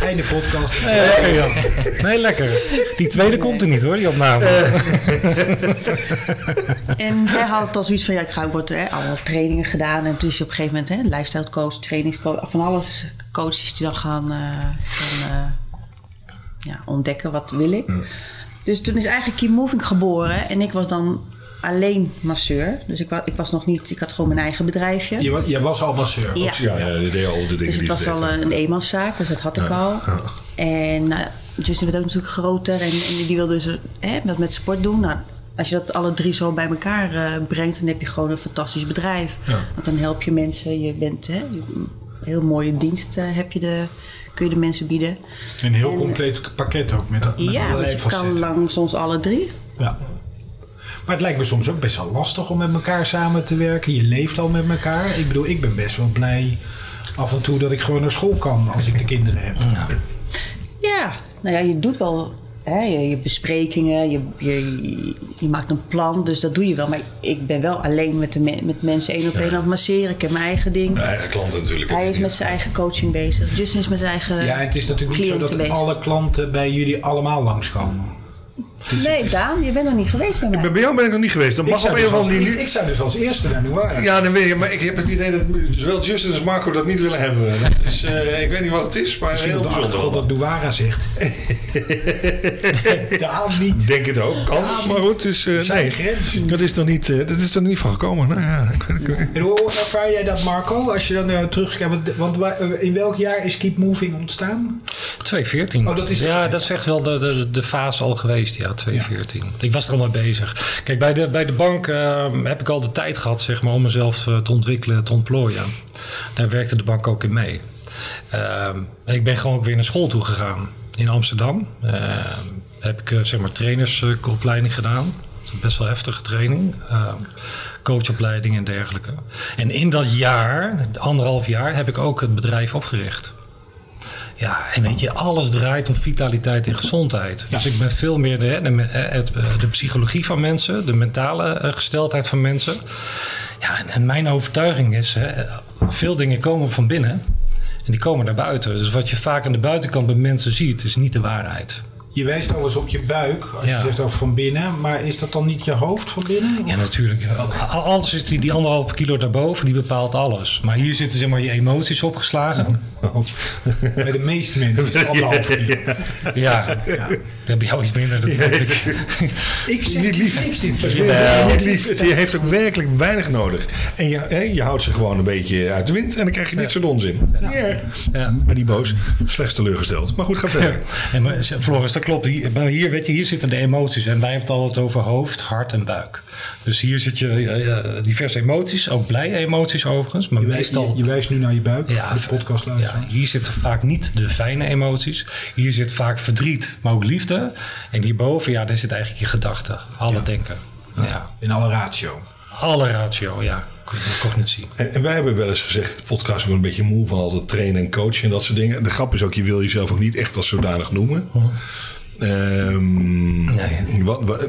S1: Einde podcast.
S7: Nee, lekker, Jan. Nee, lekker. Die tweede komt er niet hoor, die opname.
S6: En hij had dan zoiets van, ja, ik ga ook wat, hè, allemaal trainingen gedaan. En toen is hij op een gegeven moment, hè, lifestyle coach, trainingscoach, van alles. Coach is die dan gaan, eh, gaan eh, ja, ontdekken, wat wil ik. Dus toen is eigenlijk Keep Moving geboren. En ik was dan alleen masseur. Dus ik, wa- ik was nog niet, ik had gewoon mijn eigen bedrijfje.
S1: Je, wa- je was al masseur.
S6: Ja.
S4: Ja, ja, die deed al de dingen
S6: Dus het
S4: die
S6: was
S4: ze deed.
S6: al een, een eenmanszaak, dus dat had ik al. En nou, Justin werd ook natuurlijk groter en, en die wilde dus eh, hè, wat met sport doen. Nou, als je dat alle drie zo bij elkaar eh, brengt, dan heb je gewoon een fantastisch bedrijf. Want dan help je mensen, je bent hè, een heel mooie dienst eh, heb je de, kun je de mensen bieden.
S1: Een heel compleet pakket ook met, met
S6: ja, want
S1: allerlei
S6: je kan
S1: facetten.
S6: langs ons alle drie.
S1: Ja. Maar het lijkt me soms ook best wel lastig om met elkaar samen te werken. Je leeft al met elkaar. Ik bedoel, ik ben best wel blij af en toe dat ik gewoon naar school kan als ik de kinderen heb.
S6: Ja, nou ja, je doet wel hè, je, je besprekingen, je, je, je maakt een plan, dus dat doe je wel. Maar ik ben wel alleen met, de me- met mensen één op één aan het masseren. Ik heb mijn eigen ding.
S4: Mijn eigen klant natuurlijk.
S6: Hij is met zijn eigen coaching bezig. Justin is met zijn eigen
S1: Ja, en het is natuurlijk niet zo dat
S6: cliënten bezig.
S1: alle klanten bij jullie allemaal langskomen.
S6: Nee, Daan, je bent nog niet geweest bij mij.
S4: Bij jou ben ik nog niet geweest. Dat
S1: Ik
S4: mag op
S1: zou,
S4: een
S1: dus
S4: of
S1: als,
S4: andere manier.
S1: ik, ik zou dus als eerste naar Noir.
S4: Ja, dan weet je, maar ik heb het idee dat zowel Justin als Marco dat niet willen hebben. Dat is, eh, ik weet niet wat het is, maar
S1: Misschien
S4: heel
S1: op de
S4: bijzonder.
S1: achtergrond dat Douara zegt. Daar niet.
S4: Ik Denk het ook, kan. maar goed, dus, eh,
S1: Zijn
S4: nee,
S1: grenzen.
S4: dat is er niet, eh, dat is er niet van gekomen. Nou, ja, ik- ik- ik-
S1: En hoe ervaar jij dat, Marco? Als je dan eh, terugkijkt. Want, want wa- eh, in welk jaar is Keep Moving ontstaan?
S7: 214.
S1: Oh, dat is-
S7: ja, dat is echt wel de, de, de fase al geweest, ja, 214. Ik was er al mee bezig. Kijk, bij de, bij de bank eh, heb ik al de tijd gehad zeg maar, om mezelf eh, te ontwikkelen, te ontplooien. Daar werkte de bank ook in mee. Ehm, en ik ben gewoon ook weer naar school toe gegaan in Amsterdam. Ehm, heb ik eh, zeg maar trainersopleiding gedaan. Dat is een best wel heftige training. Ehm, coachopleiding en dergelijke. En in dat jaar, anderhalf jaar, heb ik ook het bedrijf opgericht. Ja, en weet je, alles draait om vitaliteit en gezondheid. Dus ik ben veel meer de, de, eh, het, de psychologie van mensen, de mentale eh, gesteldheid van mensen. Ja, en, en mijn overtuiging is, hè, veel dingen komen van binnen en die komen naar buiten. Dus wat je vaak aan de buitenkant bij mensen ziet, is niet de waarheid.
S1: Je wijst trouwens op je buik, als
S7: Ja.
S1: je zegt over van binnen. Maar is dat dan niet je hoofd van binnen?
S7: Ja, natuurlijk. Al- Alles is die, die anderhalve kilo daarboven, die bepaalt alles. Maar hier zitten zeg maar je emoties opgeslagen.
S1: Nou. Bij de meeste mensen is het anderhalf kilo.
S7: Ja, dat heb je jou iets minder. Dat weet ik.
S1: Ik zeg
S4: Niet
S1: niet
S4: lief.
S1: niks dit keer.
S4: Ja, niet lief. Die heeft ook werkelijk weinig nodig. En je, hè, je houdt ze gewoon een beetje uit de wind en dan krijg je dit soort onzin. Ja.
S7: Ja.
S4: Maar die boos, slechts teleurgesteld. Maar goed, ga verder.
S7: Nee, maar z- Floris, dat klopt. Hier, maar hier, weet je, hier zitten de emoties. En wij hebben het altijd over hoofd, hart en buik. Dus hier zit je eh, eh, diverse emoties. Ook blije emoties overigens. Maar
S1: Je wijst,
S7: meestal...
S1: je, je wijst nu naar je buik,
S7: Ja,
S1: de podcast
S7: Ja, hier zitten vaak niet de fijne emoties. Hier zit vaak verdriet, maar ook liefde. En hierboven, ja, daar zit eigenlijk je gedachten. Alle denken. Ja.
S1: In alle ratio.
S7: Alle ratio, ja. Co- Cognitie.
S4: En, en wij hebben wel eens gezegd, in de podcast we worden een beetje moe van al dat trainen en coachen en dat soort dingen. De grap is ook, je wil jezelf ook niet echt als zodanig noemen. Ehm, wat- wat-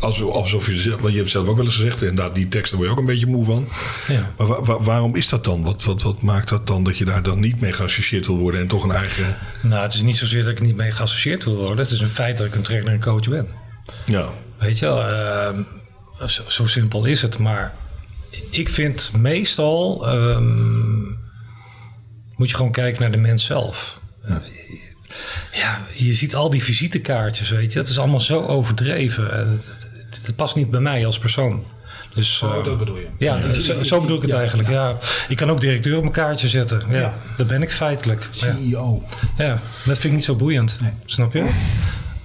S4: als- alsof je, zelf- want je hebt zelf ook wel eens gezegd, inderdaad, die tekst daar word je ook een beetje moe van.
S7: Ja.
S4: Maar wa- wa- waarom is dat dan? Wat, wat, wat maakt dat dan dat je daar dan niet mee geassocieerd wil worden en toch een eigen.
S7: Nou, het is niet zozeer dat ik niet mee geassocieerd wil worden. Het is een feit dat ik een trainer en coach ben.
S4: Ja.
S7: Weet je wel, ehm, zo, zo simpel is het. Maar ik vind meestal ehm, moet je gewoon kijken naar de mens zelf. Ja. je ziet al die visitekaartjes, weet je. Dat is allemaal zo overdreven. Eh, Het, het- het- het past niet bij mij als persoon. Dus,
S1: Oh,
S7: ehm,
S1: dat bedoel je.
S7: Ja, dat- zo, zo bedoel ik het
S1: Ja,
S7: eigenlijk. Ja. Ik kan ook directeur op mijn kaartje zetten. Ja,
S1: Ja.
S7: Dat ben ik feitelijk. Ja.
S1: CEO.
S7: Ja, maar dat vind ik niet zo boeiend.
S1: Nee.
S7: Snap je?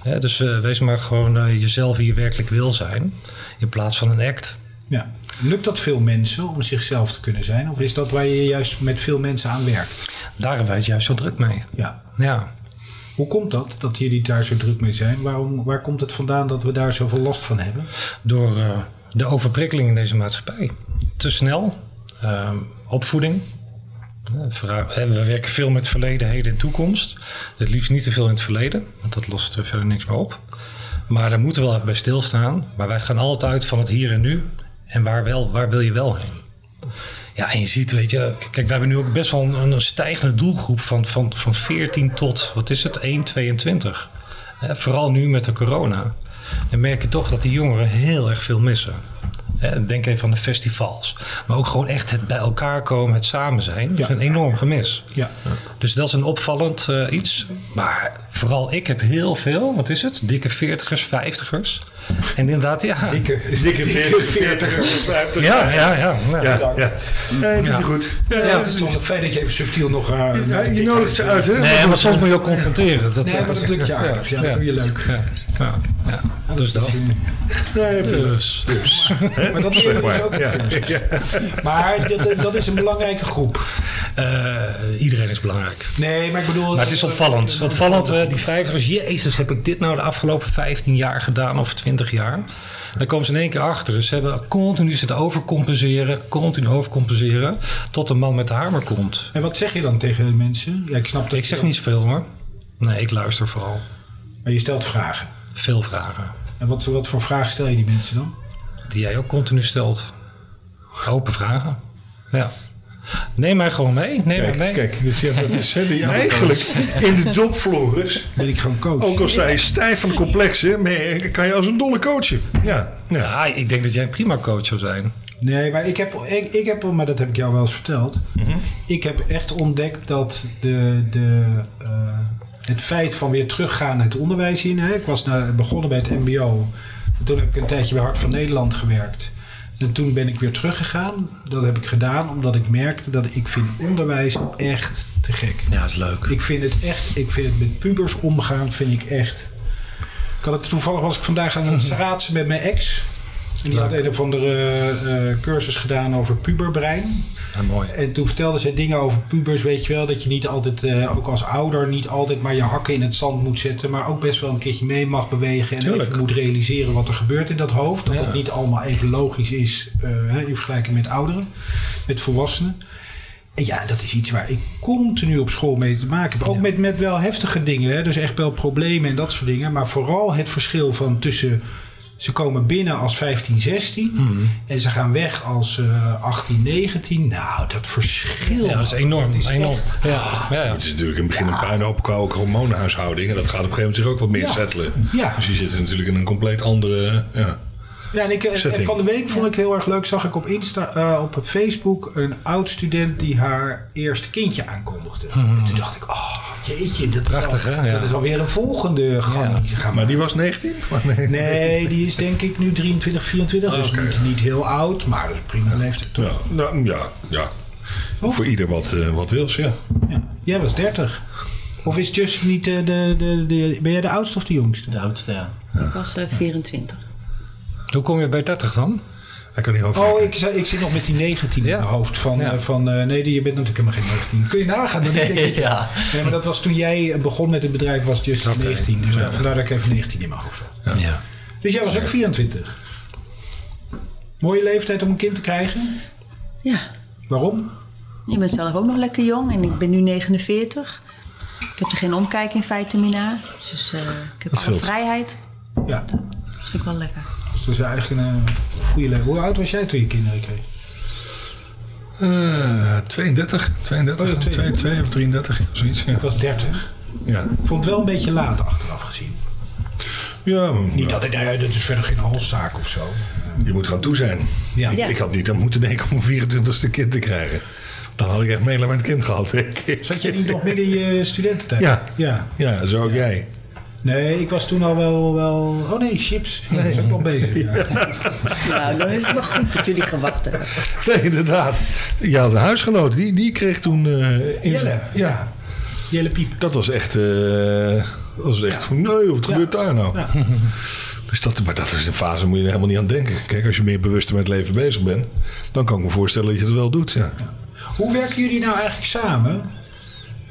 S7: Ja, dus eh, wees maar gewoon eh, jezelf wie je werkelijk wil zijn. In plaats van een act.
S1: Ja. Lukt dat veel mensen om zichzelf te kunnen zijn? Of is dat waar je juist met veel mensen aan werkt?
S7: Daar hebben wij het juist zo druk mee.
S1: Ja.
S7: Ja.
S1: Hoe komt dat, dat jullie daar zo druk mee zijn? Waarom, waar komt het vandaan dat we daar zoveel last van hebben?
S7: door eh, de overprikkeling in deze maatschappij. Te snel, ehm, opvoeding. Eh, vra- eh, We werken veel met verleden, heden en toekomst. Het liefst niet te veel in het verleden, want dat lost eh, verder niks meer op. Maar daar moeten we wel even bij stilstaan. Maar wij gaan altijd uit van het hier en nu. En waar, wel, waar wil je wel heen? Ja, en je ziet, weet je, k- kijk, wij hebben nu ook best wel een, een stijgende doelgroep van, van, van 14 tot, wat is het, 1, 22. Hè, vooral nu met de corona. Dan merk je toch dat die jongeren heel erg veel missen. Hè, denk even aan de festivals. Maar ook gewoon echt het bij elkaar komen, het samen zijn. Dat is
S1: Ja.
S7: een enorm gemis.
S1: Ja.
S7: Dus dat is een opvallend eh, iets. Maar vooral ik heb heel veel, wat is het? Dikke 40ers, 50ers. En inderdaad, ja.
S1: Dikke,
S4: Dikke 40 50
S7: Ja, ja, ja. ja.
S4: Ja, ja. Nee, doet
S7: Ja.
S4: hij goed. Ja,
S7: Ja,
S1: Het is toch een feit dat je even subtiel nog... eh,
S4: ja, je nodigt ze uit, hè?
S7: Nee, maar soms moet je ook confronteren. Dat,
S1: Nee, maar dat lukt je aardig. Ja, dat doe je leuk.
S7: Ja, ja. Dus dat.
S4: Nee,
S7: Dus.
S1: Maar dat leren we dus ook.
S4: Ja.
S1: Maar dat, dat is een belangrijke groep.
S7: Eh, iedereen is belangrijk.
S1: Nee, maar ik bedoel...
S7: Maar het is opvallend. Opvallend, eh, die vijftigers. Jezus, heb ik dit nou de afgelopen 15 jaar gedaan of 20 jaar? Daar komen ze in één keer achter. Dus ze hebben continu zitten overcompenseren, continu overcompenseren. Tot een man met de hamer komt.
S1: En wat zeg je dan tegen de mensen? Ja, ik snap dat
S7: Ik
S1: je
S7: zeg
S1: dat-
S7: niet zoveel hoor. Nee, ik luister vooral.
S1: Maar je stelt vragen.
S7: Veel vragen.
S1: En wat, wat voor vragen stel je die mensen dan?
S7: Die jij ook continu stelt. Open vragen. Ja. Neem mij gewoon mee. Neem mij mee.
S4: Kijk, kijk, dus ja, dat is, hè, die- eigenlijk in de job, Floris,
S1: Ben ik gewoon coach?
S4: ook al sta je stijf van de complexen, maar je- kan je als een dolle coachen. Ja, ja.
S7: Ja, ah, ik denk dat jij een prima coach zou zijn.
S1: Nee, maar ik heb, ik, ik heb, maar dat heb ik jou wel eens verteld. Ik heb echt ontdekt dat de, de, eh, het feit van weer teruggaan het onderwijs in. Hè? Ik was naar, begonnen bij het MBO. En Toen heb ik een tijdje bij Hart van Nederland gewerkt. En toen ben ik weer teruggegaan. Dat heb ik gedaan omdat ik merkte dat ik vind onderwijs echt te gek.
S7: Ja, is leuk.
S1: Ik vind het echt, ik vind het met pubers omgaan, vind ik echt. Ik had het toevallig, was ik vandaag aan het raadsen met mijn ex. En die had een of andere eh, cursus gedaan over puberbrein.
S7: Ja, mooi.
S1: En toen vertelde ze dingen over pubers, weet je wel, dat je niet altijd, eh, ook als ouder, niet altijd maar je hakken in het zand moet zetten, maar ook best wel een keertje mee mag bewegen en
S7: Tuurlijk.
S1: even moet realiseren wat er gebeurt in dat hoofd. Dat
S7: Ja.
S1: dat niet allemaal even logisch is eh, hè, in vergelijking met ouderen, met volwassenen. En ja, dat is iets waar ik continu op school mee te maken heb. Ook met, met wel heftige dingen, hè? dus echt wel problemen en dat soort dingen. Maar vooral het verschil van tussen Ze komen binnen als 15, 16
S7: Mhm.
S1: en ze gaan weg als eh 18, 19. Nou, dat verschil.
S7: Ja, dat is enorm.
S1: Dat is
S7: enorm.
S1: echt-
S7: Ja, ja, ja.
S4: Het is natuurlijk in het begin een puinhoop qua ook hormoonhuishouding. En dat gaat op een gegeven moment zich ook wat meer
S1: Ja.
S4: settelen.
S1: Ja.
S4: Dus je zit natuurlijk in een compleet andere... Ja.
S1: Ja, en, ik, eh,
S4: Setting.
S1: van de week vond ik heel erg leuk, zag ik op, Insta, eh, op Facebook een oud student die haar eerste kindje aankondigde. En toen dacht ik, oh jeetje, dat
S7: Mhm. Prachtig,
S1: is, al,
S7: hè? Ja.
S1: dat is alweer een volgende gang die ze gaan
S4: Maar die was 19? Maar nee.
S1: Nee, die is denk ik nu 23, 24, dus
S4: Oké.
S1: niet, niet heel oud, maar dat is prima leeftijd toch?
S4: Ja, nou, ja, ja. Voor ieder wat, eh, wat wils, ja.
S1: Ja. Jij was 30. Of is Justin niet eh, de, de, de. Ben jij de oudste of de jongste?
S5: De oudste, ja.
S6: Ik was eh, 24.
S7: Hoe kom je bij 30 dan?
S4: Hij kan niet over.
S1: Oh, ik, zei- ik zit nog met die 19
S7: Ja.
S1: in mijn hoofd. Van,
S7: Ja.
S1: eh, van eh, nee, die- je bent natuurlijk helemaal geen 19. Kun je nagaan? Dan denk ik,
S5: ja.
S1: Nee, maar dat was toen jij begon met het bedrijf, was Justin
S7: Oké.
S1: 19. Dus daar- vandaar dat ik even 19 in mijn hoofd had.
S7: Ja.
S1: Dus jij was ook 24. Mooie leeftijd om een kind te krijgen.
S6: Ja,
S1: Waarom?
S6: je bent zelf ook nog lekker jong en ik ben nu 49. Ik heb er geen omkijk in vitamine A. Dus eh, ik heb alle
S4: scheelt.
S6: vrijheid.
S1: Ja,
S6: Dat vind ik wel lekker.
S1: dus dat is eigenlijk een eh, goede leeftijd. Hoe oud was jij toen je kinderen kreeg?
S4: Eh, 32, 32, 2, 2 of 33, ja, zoiets. Ja.
S1: Ik was 30.
S4: ja.
S1: Ik vond het wel een beetje laat achteraf gezien.
S4: ja maar-
S1: Niet dat ik, nou ja, dat is verder geen halszaak of zo.
S4: Je moet er aan toe zijn.
S1: Ja.
S4: Ik,
S6: Ja.
S4: ik had niet aan moeten denken om een 24ste kind te krijgen. Dan had ik echt meelijk met kind gehad, denk ik.
S1: Zat jij niet nog midden in je studententijd?
S4: Ja.
S1: ja.
S4: Ja, zo ook jij.
S1: Nee, ik was toen al wel... wel... Oh nee, chips. Nee, is ook nog bezig. Ja.
S6: Nou, dan is het maar goed dat jullie gewacht hebben.
S4: Nee, inderdaad. Je had een huisgenoot, die, die kreeg toen... eh, in-
S1: Jelle.
S4: Ja.
S1: Ja. Jelle Piep.
S4: Dat was echt... eh, dat was echt van, nee, wat gebeurt daar nou?
S1: Ja.
S4: Dus dat, maar dat is een fase, moet je er helemaal niet aan denken. Kijk, als je meer bewust met het leven bezig bent... dan kan ik me voorstellen dat je het wel doet, ja.
S1: Hoe werken jullie nou eigenlijk samen?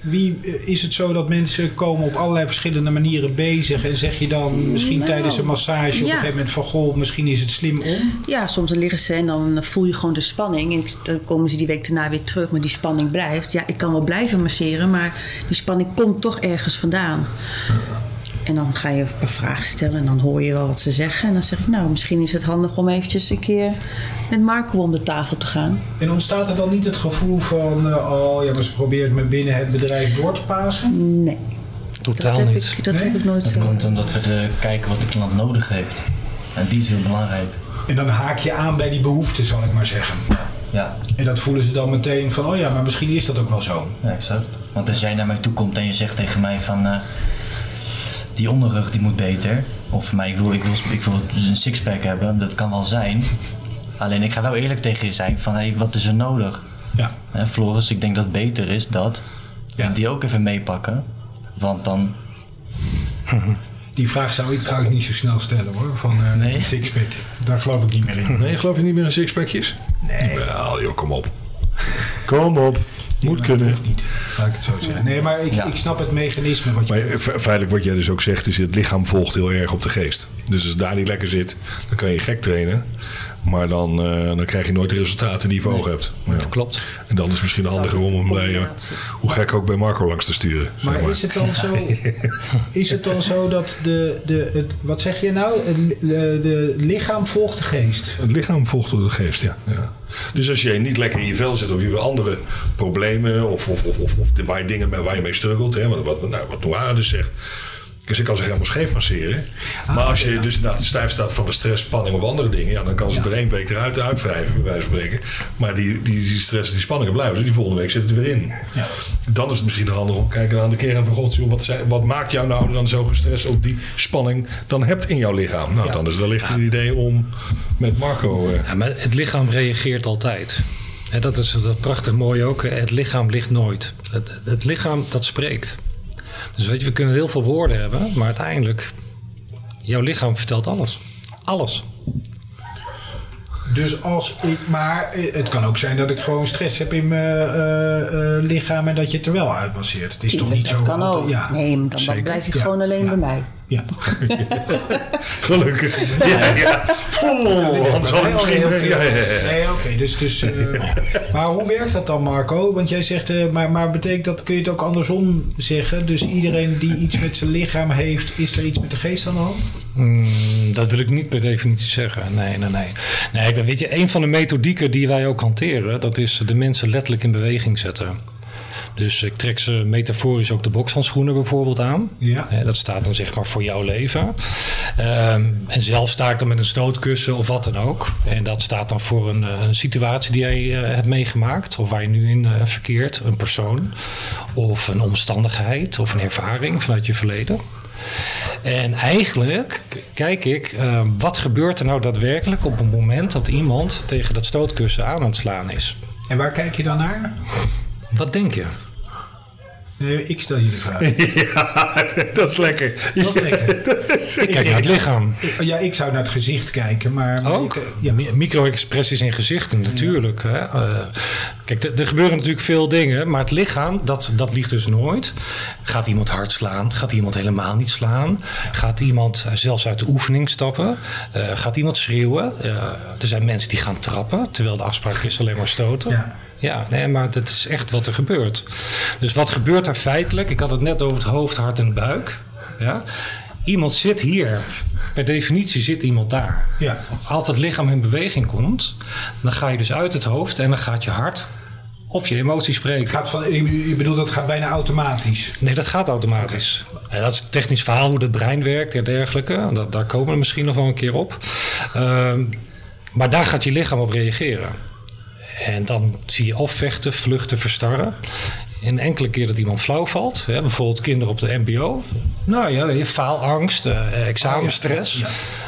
S1: Wie, eh, is het zo dat mensen komen op allerlei verschillende manieren bezig en zeg je dan misschien
S6: Nou,
S1: tijdens een massage op een
S6: ja.
S1: gegeven moment van goh, misschien is het slim om?
S6: Ja, soms dan liggen ze en dan eh, voel je gewoon de spanning. En ik- dan komen ze die week daarna weer terug, maar die spanning blijft. Ja, ik kan wel blijven masseren, maar die spanning komt toch ergens vandaan. En dan ga je een paar vragen stellen en dan hoor je wel wat ze zeggen. En dan zeg ik, nou, misschien is het handig om eventjes een keer met Marco om de tafel te gaan.
S1: En ontstaat er dan niet het gevoel van eh, oh ja, maar ze probeert me binnen het bedrijf door te pasen?
S6: Nee, dat,
S7: Totaal
S6: heb
S7: niet.
S6: ik, dat heb ik nooit eh,
S5: Dat
S6: gedaan.
S5: komt eh, omdat we de, kijken wat de klant nodig heeft. En die is heel belangrijk.
S1: En dan haak je aan bij die behoeften, zal ik maar zeggen.
S5: Ja,
S1: En dat voelen ze dan meteen van oh ja, maar misschien is dat ook wel zo.
S5: ja exact. Want als jij naar mij toe komt en je zegt tegen mij van... eh, die onderrug die moet beter. Of maar ik, wil, ik, wil, ik wil een sixpack hebben. Dat kan wel zijn. Alleen ik ga wel eerlijk tegen je zijn van... Hey, wat is er nodig?
S1: Ja.
S5: Hè, Floris, ik denk dat het beter is dat...
S1: Ja.
S5: Die ook even meepakken. Want dan...
S1: Die vraag zou ik trouwens niet zo snel stellen hoor, van eh sixpack. Daar geloof ik niet meer in.
S4: Nee, geloof je niet meer in sixpackjes? Nee. Wel, joh, kom op. Kom op. Moet kunnen.
S1: Of niet, laat ik het zo zeggen. Nee, maar ik,
S5: Ja.
S1: ik snap het mechanisme wat je
S4: Maar eh, fe- feitelijk wat jij dus ook zegt is het lichaam volgt heel erg op de geest. Dus als het daar niet lekker zit, dan kan je gek trainen. Maar dan, eh, dan krijg je nooit de resultaten die je voor ogen hebt. Ja.
S8: Klopt.
S4: En dan is het misschien handiger om hem bij, eh,
S6: Combinatie.
S4: hoe gek ook bij Marco langs te sturen. zeg
S1: Maar
S4: maar.
S1: is het dan zo, is het dan zo dat de, de, het, wat zeg je nou, het, li- de, de lichaam volgt de geest?
S4: Het lichaam volgt door de geest, ja. ja. Dus als je niet lekker in je vel zit of je hebt andere problemen of, of, of, of, of de- waar je dingen mee- waar je mee struggelt, hè, wat, wat, nou, wat Noara dus zegt. Dus ik kan zich helemaal scheef masseren. maar als je dus inderdaad stijf staat van de stress, spanning of andere dingen, ja, dan kan ze er één week eruit uitwrijven, bij wijze van spreken. Maar die, die, die stress en die spanningen blijven, dus die volgende week zit het weer in. Dan is het misschien handig om te kijken aan de kern van God, joh, wat, zijn- wat maakt jou nou dan zo gestrest op die spanning dan hebt in jouw lichaam? Nou, dan is wellicht het idee om met Marco. eh,
S7: Ja, maar het lichaam reageert altijd. En dat is dat prachtig mooi ook. Het lichaam ligt nooit. Het, het lichaam dat spreekt. Dus weet je, we kunnen heel veel woorden hebben, maar uiteindelijk, jouw lichaam vertelt alles. Alles.
S1: Dus als ik, maar eh, het kan ook zijn dat ik gewoon stress heb in mijn eh, eh, lichaam en dat je het er wel uitmasseert. Het is toch niet
S6: dat
S1: zo...
S6: kan
S1: altijd-
S6: ook.
S1: Ja.
S6: Nee, maar dan, dan
S7: Zeker.
S6: blijf je
S1: Ja.
S6: gewoon alleen
S1: Ja.
S6: bij mij.
S1: Ja.
S8: Gelukkig. Ja, ja. Oh, Hans had
S1: Nee,
S8: het
S1: oh,
S8: misschien...
S1: heel veel.
S8: Ja, ja, ja.
S1: Nee, oké. dus, dus, eh, maar hoe werkt dat dan, Marco? Want jij zegt, eh, maar, maar betekent dat, kun je het ook andersom zeggen? Dus iedereen die iets met zijn lichaam heeft, is er iets met de geest aan de hand?
S7: Mm, dat wil ik niet per definitie zeggen. Nee, nee, nee. nee ik- weet je, een van de methodieken die wij ook hanteren, dat is de mensen letterlijk in beweging zetten. Dus ik trek ze metaforisch ook de bokshandschoenen bijvoorbeeld aan.
S1: Ja.
S7: Hè, dat staat dan zeg maar voor jouw leven. Ehm, en zelf sta ik dan met een stootkussen of wat dan ook. En dat staat dan voor een, eh, een situatie die jij eh, hebt meegemaakt. Of waar je nu in eh, verkeert. Een persoon. Of een omstandigheid. Of een ervaring vanuit je verleden. En eigenlijk k- kijk ik, eh, wat gebeurt er nou daadwerkelijk op het moment dat iemand tegen dat stootkussen aan aan het slaan is?
S1: En waar kijk je dan naar?
S7: Wat denk je?
S1: Nee, ik stel je de vraag.
S8: Dat is lekker.
S1: Dat is lekker.
S7: Ik kijk naar het lichaam.
S1: Ja, ik zou naar het gezicht kijken, maar... maar
S7: Ook.
S1: ik- ja.
S7: Mi- Micro-expressies in gezichten, natuurlijk. Hè. Eh, kijk, er- er gebeuren natuurlijk veel dingen, maar het lichaam, dat, dat ligt dus nooit. Gaat iemand hard slaan? Gaat iemand helemaal niet slaan? Gaat iemand eh, zelfs uit de oefening stappen? Eh, gaat iemand schreeuwen? Eh, er zijn mensen die gaan trappen, terwijl de afspraak is alleen maar stoten.
S1: Ja.
S7: Ja, nee, maar dat is echt wat er gebeurt. Dus wat gebeurt er feitelijk? Ik had het net over het hoofd, hart en buik. Ja? Iemand zit hier. Per definitie zit iemand daar.
S1: Ja.
S7: Als het lichaam in beweging komt, dan ga je dus uit het hoofd en dan gaat je hart of je emotie spreken.
S1: Gaat van, je je bedoelt, dat gaat bijna automatisch.
S7: Nee, dat gaat automatisch. En dat is een technisch verhaal hoe het brein werkt en dergelijke. Dat, daar komen we misschien nog wel een keer op. Ehm, maar daar gaat je lichaam op reageren. En dan zie je of vechten, vluchten, verstarren. En enkele keer dat iemand flauw valt, hè, bijvoorbeeld kinderen op de MBO. Nou ja, je faalangst, eh, examenstress.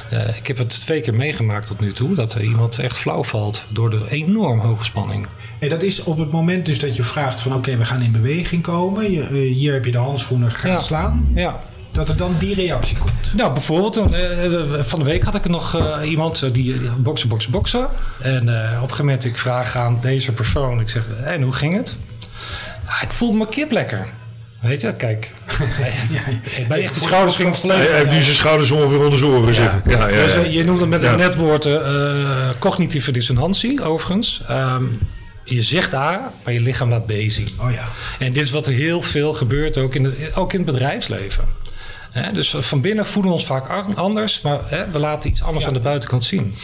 S7: Eh, ik heb het twee keer meegemaakt tot nu toe dat er iemand echt flauw valt door de enorm hoge spanning.
S1: En dat is op het moment dus dat je vraagt van... oké, we gaan in beweging komen. Je, eh, hier heb je de handschoenen gaan
S7: Ja.
S1: slaan.
S7: Ja,
S1: Dat er dan die reactie komt.
S7: Nou, bijvoorbeeld, eh, eh, van de week had ik nog eh, iemand eh, die eh, boksen, boksen, boksen. En eh, op een gegeven moment, ik vraag aan deze persoon, ik zeg, en hoe ging het? Nou, ik voelde mijn kip lekker. Weet je, kijk. Bij echt de schouders ging het
S8: Hij
S7: volledig.
S8: hij heeft nu zijn schouders ongeveer onder zijn oren zitten. Ja, ja,
S7: Dus,
S8: ja.
S7: eh, je noemde met
S8: Ja.
S7: een net woord eh, cognitieve dissonantie, overigens. Ehm, je zegt A, maar je lichaam laat B zien.
S1: Oh ja.
S7: En dit is wat er heel veel gebeurt, ook in, de, ook in het bedrijfsleven. Hè, dus van binnen voelen we ons vaak an- anders, maar hè, we laten iets anders aan de buitenkant zien.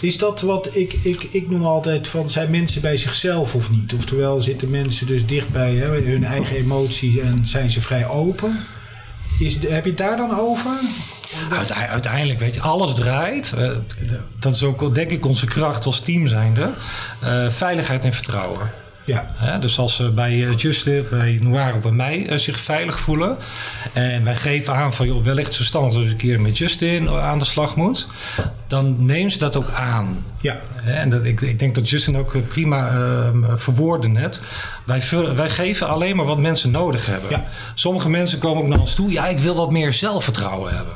S1: Is dat wat ik, ik, ik noem altijd van zijn mensen bij zichzelf of niet? Oftewel zitten mensen dus dicht bij hè, hun eigen emoties en zijn ze vrij open? Is, heb je het daar dan over?
S7: Uite- uiteindelijk, weet je, alles draait. eh, dat is ook denk ik onze kracht als team zijnde. eh, veiligheid en vertrouwen.
S1: Ja.
S7: Hè, dus als ze bij eh, Justin, bij Noir of bij mij eh, zich veilig voelen. En wij geven aan van joh, wellicht zijn stand eens een keer met Justin aan de slag moet. Dan nemen ze dat ook aan.
S1: Ja.
S7: Hè, En dat, ik, ik denk dat Justin ook eh, prima ehm, verwoordde net. Wij, vul- wij geven alleen maar wat mensen nodig hebben.
S1: Ja.
S7: Sommige mensen komen ook naar ons toe. Ja, ik wil wat meer zelfvertrouwen hebben.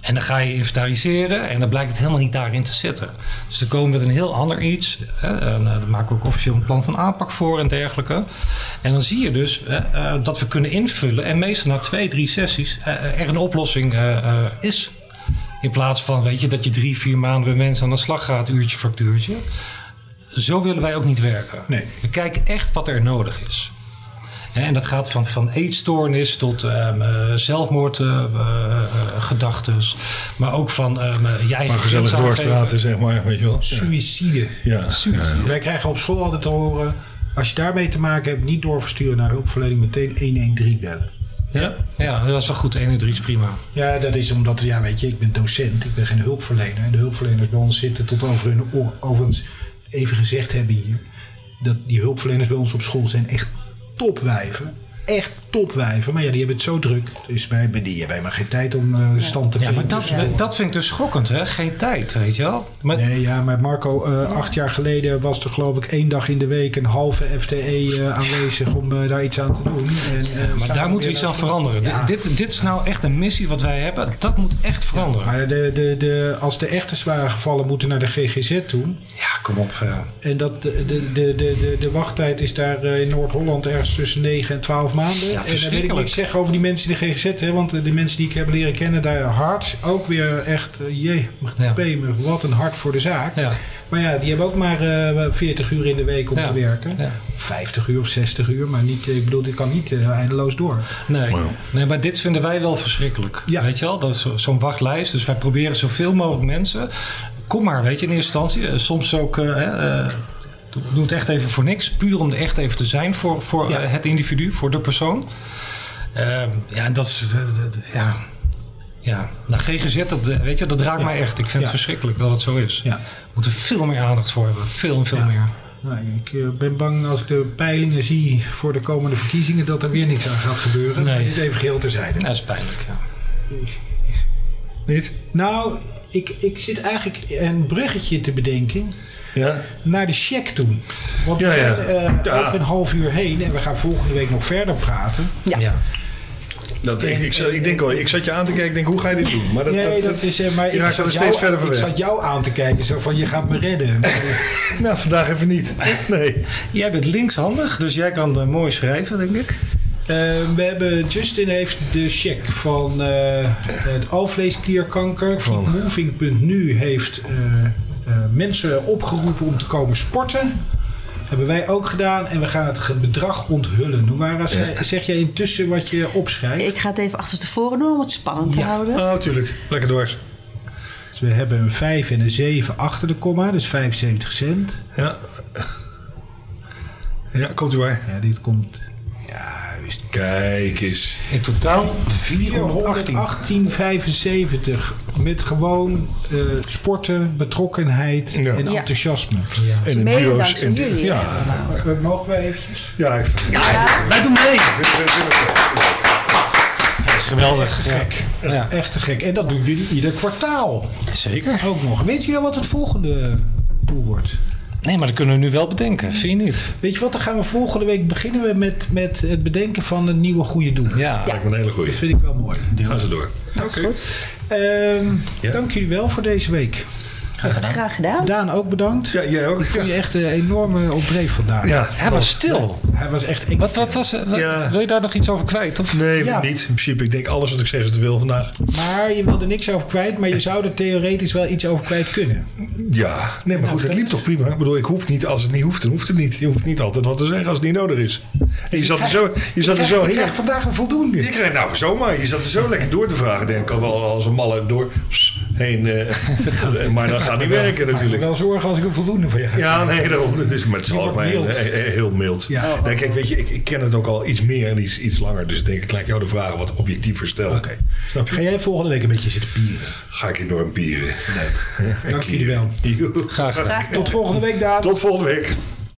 S7: En dan ga je inventariseren en dan blijkt het helemaal niet daarin te zitten. Dus dan komen we met een heel ander iets. Hè, en, eh, daar maken we ook officieel een plan van aanpak voor en dergelijke. En dan zie je dus eh, eh, dat we kunnen invullen. En meestal na twee, drie sessies eh, eh, er een oplossing eh, eh, is. In plaats van, weet je, dat je drie, vier maanden bij mensen aan de slag gaat, uurtje, factuurtje. Zo willen wij ook niet werken.
S1: Nee.
S7: We kijken echt wat er nodig is. Hè, En dat gaat van, van eetstoornis tot ehm, eh, zelfmoordgedachten. maar ook van ehm, eh, je eigen
S8: Maar gezellig
S7: grens
S8: doorstraten, zeg maar. Weet je wel. Ja.
S1: Suïcide.
S8: Ja. Ja.
S1: Wij krijgen op school altijd te horen... als je daarmee te maken hebt, niet doorversturen naar hulpverlening... meteen 113 bellen.
S7: aangeven. Ja? ja, dat is wel goed. 1 en 3 is prima.
S1: Ja, dat is omdat, ja, weet je, ik ben docent, ik ben geen hulpverlener. En de hulpverleners bij ons zitten tot over hun oor. Overigens, even gezegd hebben hier, dat die hulpverleners bij ons op school zijn echt topwijven. Echt topwijven, maar ja, die hebben het zo druk. Dus wij hebben, die hebben helemaal geen tijd om eh, stand te
S7: Ja, maar
S1: brengen.
S7: dat,
S1: Dus, eh,
S7: dat vind ik dus schokkend, hè? Geen tijd, weet je wel? Maar,
S1: Nee, ja, maar Marco, eh, acht jaar geleden was er geloof ik één dag in de week een halve FTE eh, aanwezig om eh, daar iets aan te doen. En, eh,
S7: Maar daar
S1: zaterdag
S7: moeten we
S1: weer
S7: iets
S1: naar
S7: aan
S1: school.
S7: veranderen.
S1: Ja.
S7: Dit, dit, dit is nou echt een missie wat wij hebben. Dat moet echt veranderen. Ja,
S1: Maar de, de, de, als de echte zware gevallen moeten naar de GGZ toe,
S7: kom op. eh.
S1: En dat de, de, de, de, de, de wachttijd is daar eh, in Noord-Holland ergens tussen 9 en 12 twaalf maanden. en daar weet ik
S7: verschrikkelijk.
S1: niks zeggen over die mensen in de GGZ. Hè, want eh, de mensen die ik heb leren kennen daar hard. Ook weer echt, eh, jee, mag
S7: Ja.
S1: pemen, wat een hart voor de zaak.
S7: Ja.
S1: Maar ja, die hebben ook maar eh 40 uur in de week om
S7: Ja.
S1: te werken.
S7: Ja.
S1: 50 uur of 60 uur, maar niet, eh, ik bedoel, dit kan niet eh, eindeloos door.
S7: Nee.
S4: Maar ja.
S7: nee, maar dit vinden wij wel verschrikkelijk.
S1: Ja.
S7: Weet je wel, dat is zo- zo'n wachtlijst. Dus wij proberen zoveel mogelijk mensen. Kom maar, weet je, in eerste instantie. eh, Soms ook. eh, hè, eh, doe- Doe het echt even voor niks. Puur om er echt even te zijn voor, voor
S1: Ja.
S7: eh, het individu, voor de persoon. Ehm, ja, en dat is. eh, dat- ja. Ja, nou GGZ, dat, eh, weet je, dat raakt
S1: Ja.
S7: mij echt. Ik vind
S1: Ja.
S7: het verschrikkelijk dat het zo is.
S1: Ja.
S7: We moeten veel meer aandacht voor hebben. Veel en veel
S1: Ja.
S7: meer.
S1: Nou, ik eh, ben bang als ik de peilingen zie voor de komende verkiezingen dat er weer niks aan gaat gebeuren.
S7: Nee.
S1: Niet even geheel terzijde.
S7: Ja, dat is pijnlijk, ja.
S4: Niet?
S1: Nou, ik, ik zit eigenlijk een bruggetje te bedenken
S4: Ja.
S1: naar de check toe. Want
S4: Ja,
S1: we
S4: ja.
S1: gaan eh,
S4: Ja.
S1: over een half uur heen en we gaan volgende week nog verder praten.
S6: Ja.
S4: Dat, ik, ik, zat- ik, denk, al, ik zat je aan te kijken, ik denk, hoe ga je dit doen? Maar dat,
S1: Nee, dat, is. eh, maar
S4: je
S1: ik,
S4: raakt er
S1: zat
S4: steeds verder van
S1: ik
S4: weg.
S1: zat jou aan te kijken, zo van je gaat me redden.
S4: Nou, vandaag even niet. Nee.
S7: Jij bent linkshandig, dus jij kan eh, mooi schrijven, denk ik.
S1: Eh, we hebben Justin heeft de check van eh, het alvleesklierkanker.
S4: Van-
S1: Moving.nu heeft eh, eh, mensen opgeroepen om te komen sporten. Hebben wij ook gedaan en we gaan het ge- bedrag onthullen. Noemara, ze- zeg jij intussen wat je opschrijft?
S6: Ik ga het even achter tevoren doen om het spannend te
S1: Ja.
S6: houden.
S4: Oh, tuurlijk. Lekker door.
S1: Dus we hebben een 5 en een 7 achter de komma, dus 75 cent.
S4: Ja. Ja, komt u bij.
S1: Ja, dit komt. Ja, juist.
S4: Kijk eens.
S7: In totaal 418.
S1: 418,75 met gewoon eh, sporten, betrokkenheid
S4: Ja.
S1: en
S6: Ja.
S1: enthousiasme.
S4: En de
S6: Mede
S4: duo's
S6: dankzij
S4: en de-
S6: jullie.
S4: Ja,
S7: Nou,
S1: Eh, mogen wij eventjes?
S4: ja, ik vind
S7: Wij doen mee!
S5: Dat is geweldig.
S1: Gek.
S7: Ja.
S1: Echt te gek. En dat doen jullie ieder kwartaal
S7: Zeker.
S1: ook nog. Weet je wel wat het volgende doel wordt?
S7: Nee, maar dat kunnen we nu wel bedenken. Vind je niet?
S1: Weet je wat, dan gaan we volgende week beginnen we met, met het bedenken van een nieuwe goede doel.
S7: Ja.
S4: het een hele goeie.
S1: Dat vind ik wel mooi.
S4: Gaan ze door.
S1: Ehm,
S4: Ja.
S1: Dank jullie wel voor deze week.
S6: Graag gedaan.
S1: Daan ook bedankt.
S4: Ja, jij ook.
S1: Ik vond
S4: Ja.
S1: je echt een enorme opdreef vandaag.
S4: Ja.
S7: Hij was stil.
S1: Hij was echt eng.
S7: Wat, wat was het? Wat-
S4: Ja.
S7: Wil je daar nog iets over kwijt? Of?
S4: Nee,
S1: Ja.
S4: niet. In principe, ik denk alles wat ik zeg is te veel vandaag.
S1: Maar je wilde niks over kwijt, maar je zou er theoretisch wel iets over kwijt kunnen.
S4: Ja, nee, maar goed, het liep toch prima. Ik bedoel, ik hoef niet, als het niet hoeft, dan hoeft het niet. Je hoeft niet altijd wat te zeggen als het niet nodig is. En je zat er zo, je zat er zo
S1: Ik
S4: heel...
S1: krijg vandaag een voldoende.
S4: Je krijgt nou zomaar, je zat er zo lekker door te vragen. Denk ik al wel als een malle door heen. eh, maar dat gaat niet werken
S1: Ik me
S4: natuurlijk.
S1: wel zorgen als ik een voldoende van je ga.
S4: Ja, nee, daarom. Het is, maar het is
S1: wordt
S4: ook maar heel,
S1: mild.
S4: eh, eh, heel mild.
S1: Ja.
S4: Nee, kijk, weet je, ik, ik ken het ook al iets meer en iets, iets langer. Dus ik denk, ik laat jou de vragen wat objectiever stellen.
S1: Oké.
S4: Snap
S1: Ga
S4: je?
S1: jij volgende week een beetje zitten pieren?
S4: Ga ik enorm pieren.
S1: Dank jullie wel.
S4: Joe.
S7: Graag gedaan.
S6: Graag gedaan.
S1: Tot volgende week, Daan.
S4: Tot volgende week.